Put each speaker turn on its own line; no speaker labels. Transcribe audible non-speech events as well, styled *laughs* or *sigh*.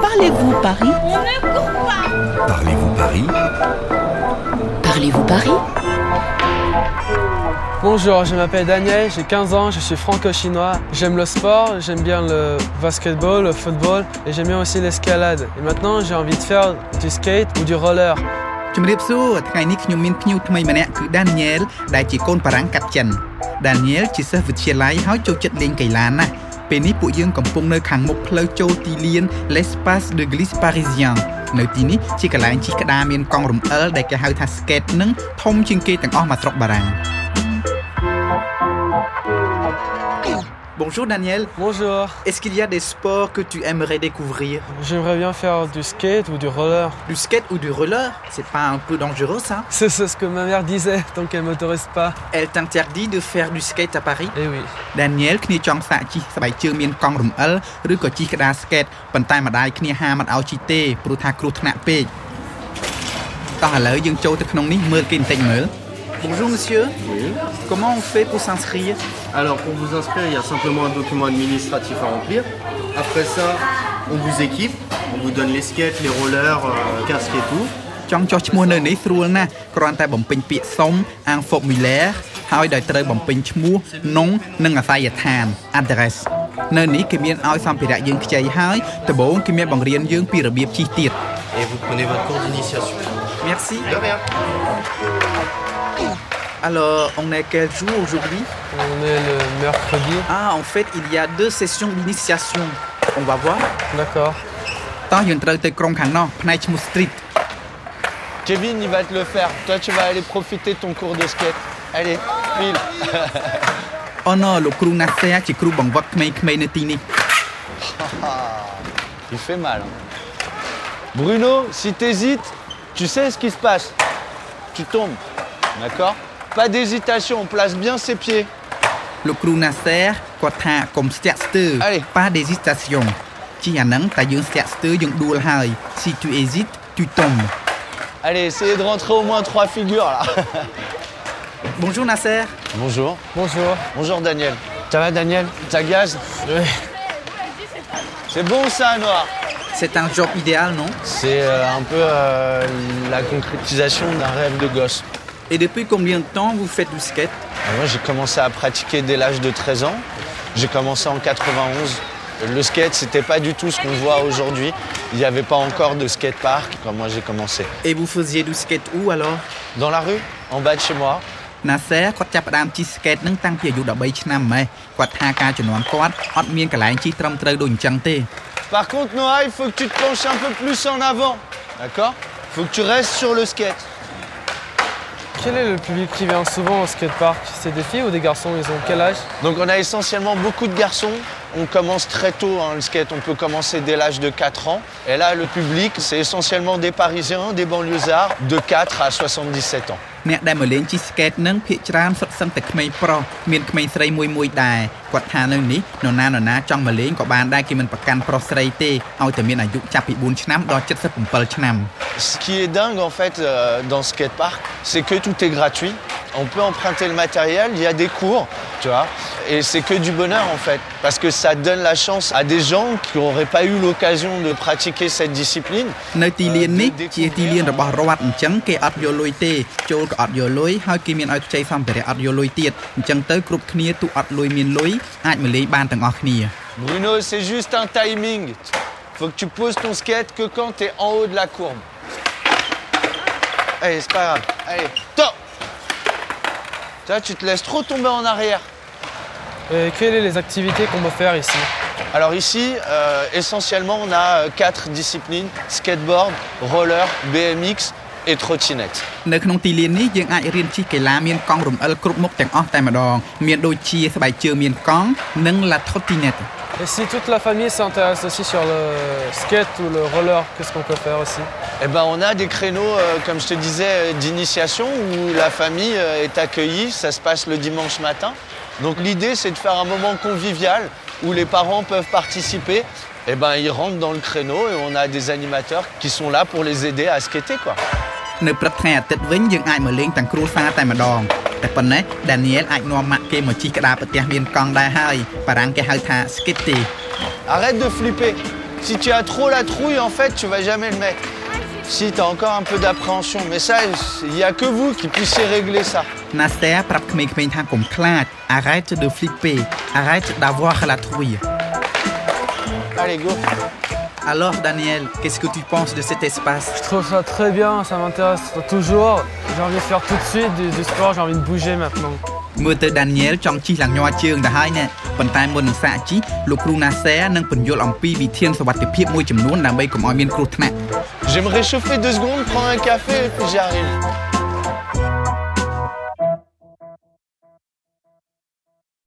Parlez-vous Paris
Parlez-vous Paris
Parlez-vous Paris
Bonjour, je m'appelle Daniel, j'ai 15 ans, je suis franco-chinois. J'aime le sport, j'aime bien le basketball, le football et j'aime bien aussi l'escalade. Et maintenant, j'ai envie de faire du skate ou du roller.
ជំរាបសួរថ្ងៃនេះខ្ញុំមានភ្ញៀវថ្មីម្នាក់គឺ Daniel ដែលជាកូនបារាំងកាត់ចិន Daniel ជាសិស្សវិទ្យាល័យហើយចូលចិត្តលេងកីឡាណាស់ពេលនេះពួកយើងកំពុងនៅខាងមុខផ្លូវចូលទីលាន L'Espace de Glisse Parisien នៅទីនេះជាកន្លែងជិះក្តារមានកង់រំអិលដែលគេហៅថា skate នឹងធំជាងគេទាំងអស់មកស្រុកបារាំង Bonjour Daniel,
Bonjour,
est-ce qu'il y a des sports que tu aimerais découvrir
j'aimerais bien faire du skate ou du roller. *laughs*
Du skate ou du roller C'est pas un peu dangereux ça
C'est c'est ce que ma mère disait, tant qu'elle m'autorise pas.
Elle t'interdit de faire du skate à Paris
Eh
Et oui.
Daniel គ្នាចង់សាកជិះស្បែកជើងមានកង់រំអិលឬក៏ជិះក្តារស្កេតប៉ុន្តែម្ដាយគ្នាហាមមិនឲ្យជិះទេព្រោះថាគ្រោះថ្នាក់ពេកតោះឥឡូវយើងចូលទៅក្នុងនេះមើលគេបន្តិចមើល Bonjour monsieur. Comment on fait pour s'inscrire
Alors pour vous inscrire, il y a simplement un document administratif à remplir. Après ça, on vous équipe, on vous donne les skates, les rollers, euh, casque et tout.
ចង់ចោះឈ្មោះនៅនេះស្រួលណាស់គ្រាន់តែបំពេញពាក្យសុំ un formulaire ហើយដោយត្រូវបំពេញឈ្មោះនងនិងអាស័យដ្ឋាន address នៅនេះគេមានឲ្យសម្ភារៈយើងខ្ចីហើយដំបូងគេមានបង្រៀនយើងពីរបៀបជិះទៀត
Et vous prenez votre cours d'initiation.
Merci
De rien.
Alors, on est quel jour aujourd'hui
On est le mercredi.
Ah, en fait, il y a deux sessions d'initiation. On va voir.
D'accord.
តោះយើងត្រូវទៅក្រុងខាងនោះផ្នែកឈ្មោះ Street
Kevin, il va te le faire. Toi, tu vas aller profiter de ton cours de skate. Allez, file.
អូណូលោកគ្រូណាសែជាគ្រូបង្វឹកក្មេងៗនៅទីនេះ
Il fait mal. hein. Bruno, si t'hésites, tu sais ce qui se passe. Tu tombes. D'accord Pas d'hésitation, on place bien ses pieds.
លោកគ្រូណាសែគាត់ថាកុំស្ទាក់ស្ទើរ
Allez.
pas d'hésitation ជាអាហ្នឹងតែយើងស្ទាក់ស្ទើរយើងដួលហើយ si tu hésites tu tombes
Allez, essayez de rentrer au moins trois figures là. *laughs*
Bonjour Nasser
Bonjour.
Bonjour.
Bonjour Daniel. Ça va Daniel Ça gaz C'est bon ça, Noir
c'est un job idéal non
C'est euh, un peu euh, la concrétisation d'un rêve de gosse.
et depuis combien de temps vous faites du skate
Alors Moi, j'ai commencé à pratiquer dès l'âge de 13 ans. J'ai commencé en 91. Le skate, c'était pas du tout ce qu'on voit aujourd'hui. Il n'y avait pas encore de skatepark quand moi j'ai commencé.
et vous faisiez du skate où alors
Dans la rue, en bas de chez moi,
Nasser គាត់ចាប់ផ្ដើមជិះស្កេតនឹងតាំងពីអាយុ13ឆ្នាំម៉េះគាត់ថាការជំនាន់គាត់អត់មានកន្លែងជិះត្រឹមត្រូវដូចអញ្ចឹងទេ
Par contre, Noah, il faut que tu te penches un peu plus en avant. D'accord Faut que tu restes sur le skate.
Quel est le public qui vient souvent au skatepark C'est des filles ou des garçons Ils ont quel âge
Donc, on a essentiellement beaucoup de garçons. On commence très tôt hein, le skate. On peut commencer dès l'âge de 4 ans. Et là, le public, c'est essentiellement des Parisiens, des banlieusards, de 4 à 77 ans.
អ្នកដែលមកលេងជិះស្កេតនឹងភាកច្រើនសុទ្ធសឹងតែក្មេងប្រុសមានក្មេងស្រីមួយមួយដែរគាត់ថានៅនេះនរណានរណាចង់មកលេងក៏បានដែរគេមិនប្រកាន់ប្រុសស្រីទេឲ្យតែមានអាយុចាប់ពី4ឆ្នាំដល់77ឆ្នាំ
Ce qui est dingue en fait euh, dans ce skatepark, c'est que tout est gratuit. On peut emprunter le matériel, il y a des cours, tu vois. Et c'est que du bonheur en fait. Parce que ça donne la chance à des gens qui n'auraient pas eu l'occasion de pratiquer cette discipline.
នៅទីលាននេះជាទីលានរបស់រដ្ឋអញ្ចឹងគេអត់យកលុយទេចូលក៏អត់យកលុយហើយគេមានឲ្យខ្ចីសម្ភារៈអត់យកលុយទៀតអញ្ចឹងទៅគ្រប់គ្នាទូអត់លុយមានលុយអាចមកលេងបានទាំងអស់គ្នា
Bruno, c'est juste un timing. Faut que tu poses ton skate que quand t'es en haut de la courbe. Allez, c'est pas grave. Allez, top Toi, tu te laisses trop tomber en arrière.
Et quelles sont les activités qu'on peut faire ici
Alors ici, euh, essentiellement, on a euh, quatre disciplines, skateboard, roller, BMX et trottinette.
នៅក្នុងទីលាននេះយើងអាចរៀនជិះកីឡាមានកង់រំអិលគ្រប់មុខទាំងអស់តែម្ដងមានដូចជាស្បែកជើងមានកង់និង La Trottinette
Et si toute la famille s'intéresse aussi sur le skate ou le roller, qu'est-ce qu'on peut faire aussi
Eh ben, on a des créneaux, euh, comme je te disais, euh, d'initiation où la famille euh, est accueillie. Ça se passe le dimanche matin. Donc l'idée, c'est de faire un moment convivial où les parents peuvent participer. Eh ben, ils rentrent dans le créneau et on a des animateurs qui sont là pour les aider à skater, quoi.
នៅព្រឹកថ្ងៃអាទិត្យវិញយើងអាចមកលេងទាំងគ្រួសារតែម្ដងតែប៉ុណ្ណេះ Daniel អាចនាំម៉ាក់គេមកជិះក្តារប្រទះមានកង់ដែរហើយបារាំងគេហៅថា skitty
Arrête de flipper. Si tu as trop la trouille, en fait, tu vas jamais le mettre. Si tu as encore un peu d'appréhension, mais ça, il n'y a que vous qui puissiez régler ça.
ណាស្ទែប្រាប់ក្មេងៗថាកុំខ្លាច arrête de flipper arrête d'avoir la trouille
Allez, go.
alors Daniel qu'est-ce que tu penses de cet espace
Je trouve ça très bien, ça m'intéresse toujours. J'ai envie de faire tout de suite du, du sport, j'ai envie de bouger maintenant.
មើលទៅ Daniel ចង់ជិះឡើងញ័រជើងទៅហើយណាប៉ុន្តែមុននឹងសាកជិះលោកគ្រូ Nasser នឹងពន្យល់អំពីវិធានសុវត្ថិភាពមួយចំនួនដើម្បីកុំឲ្យមានគ្រោះថ្នាក់
Je vais me réchauffer deux secondes, prendre un café et puis j'arrive.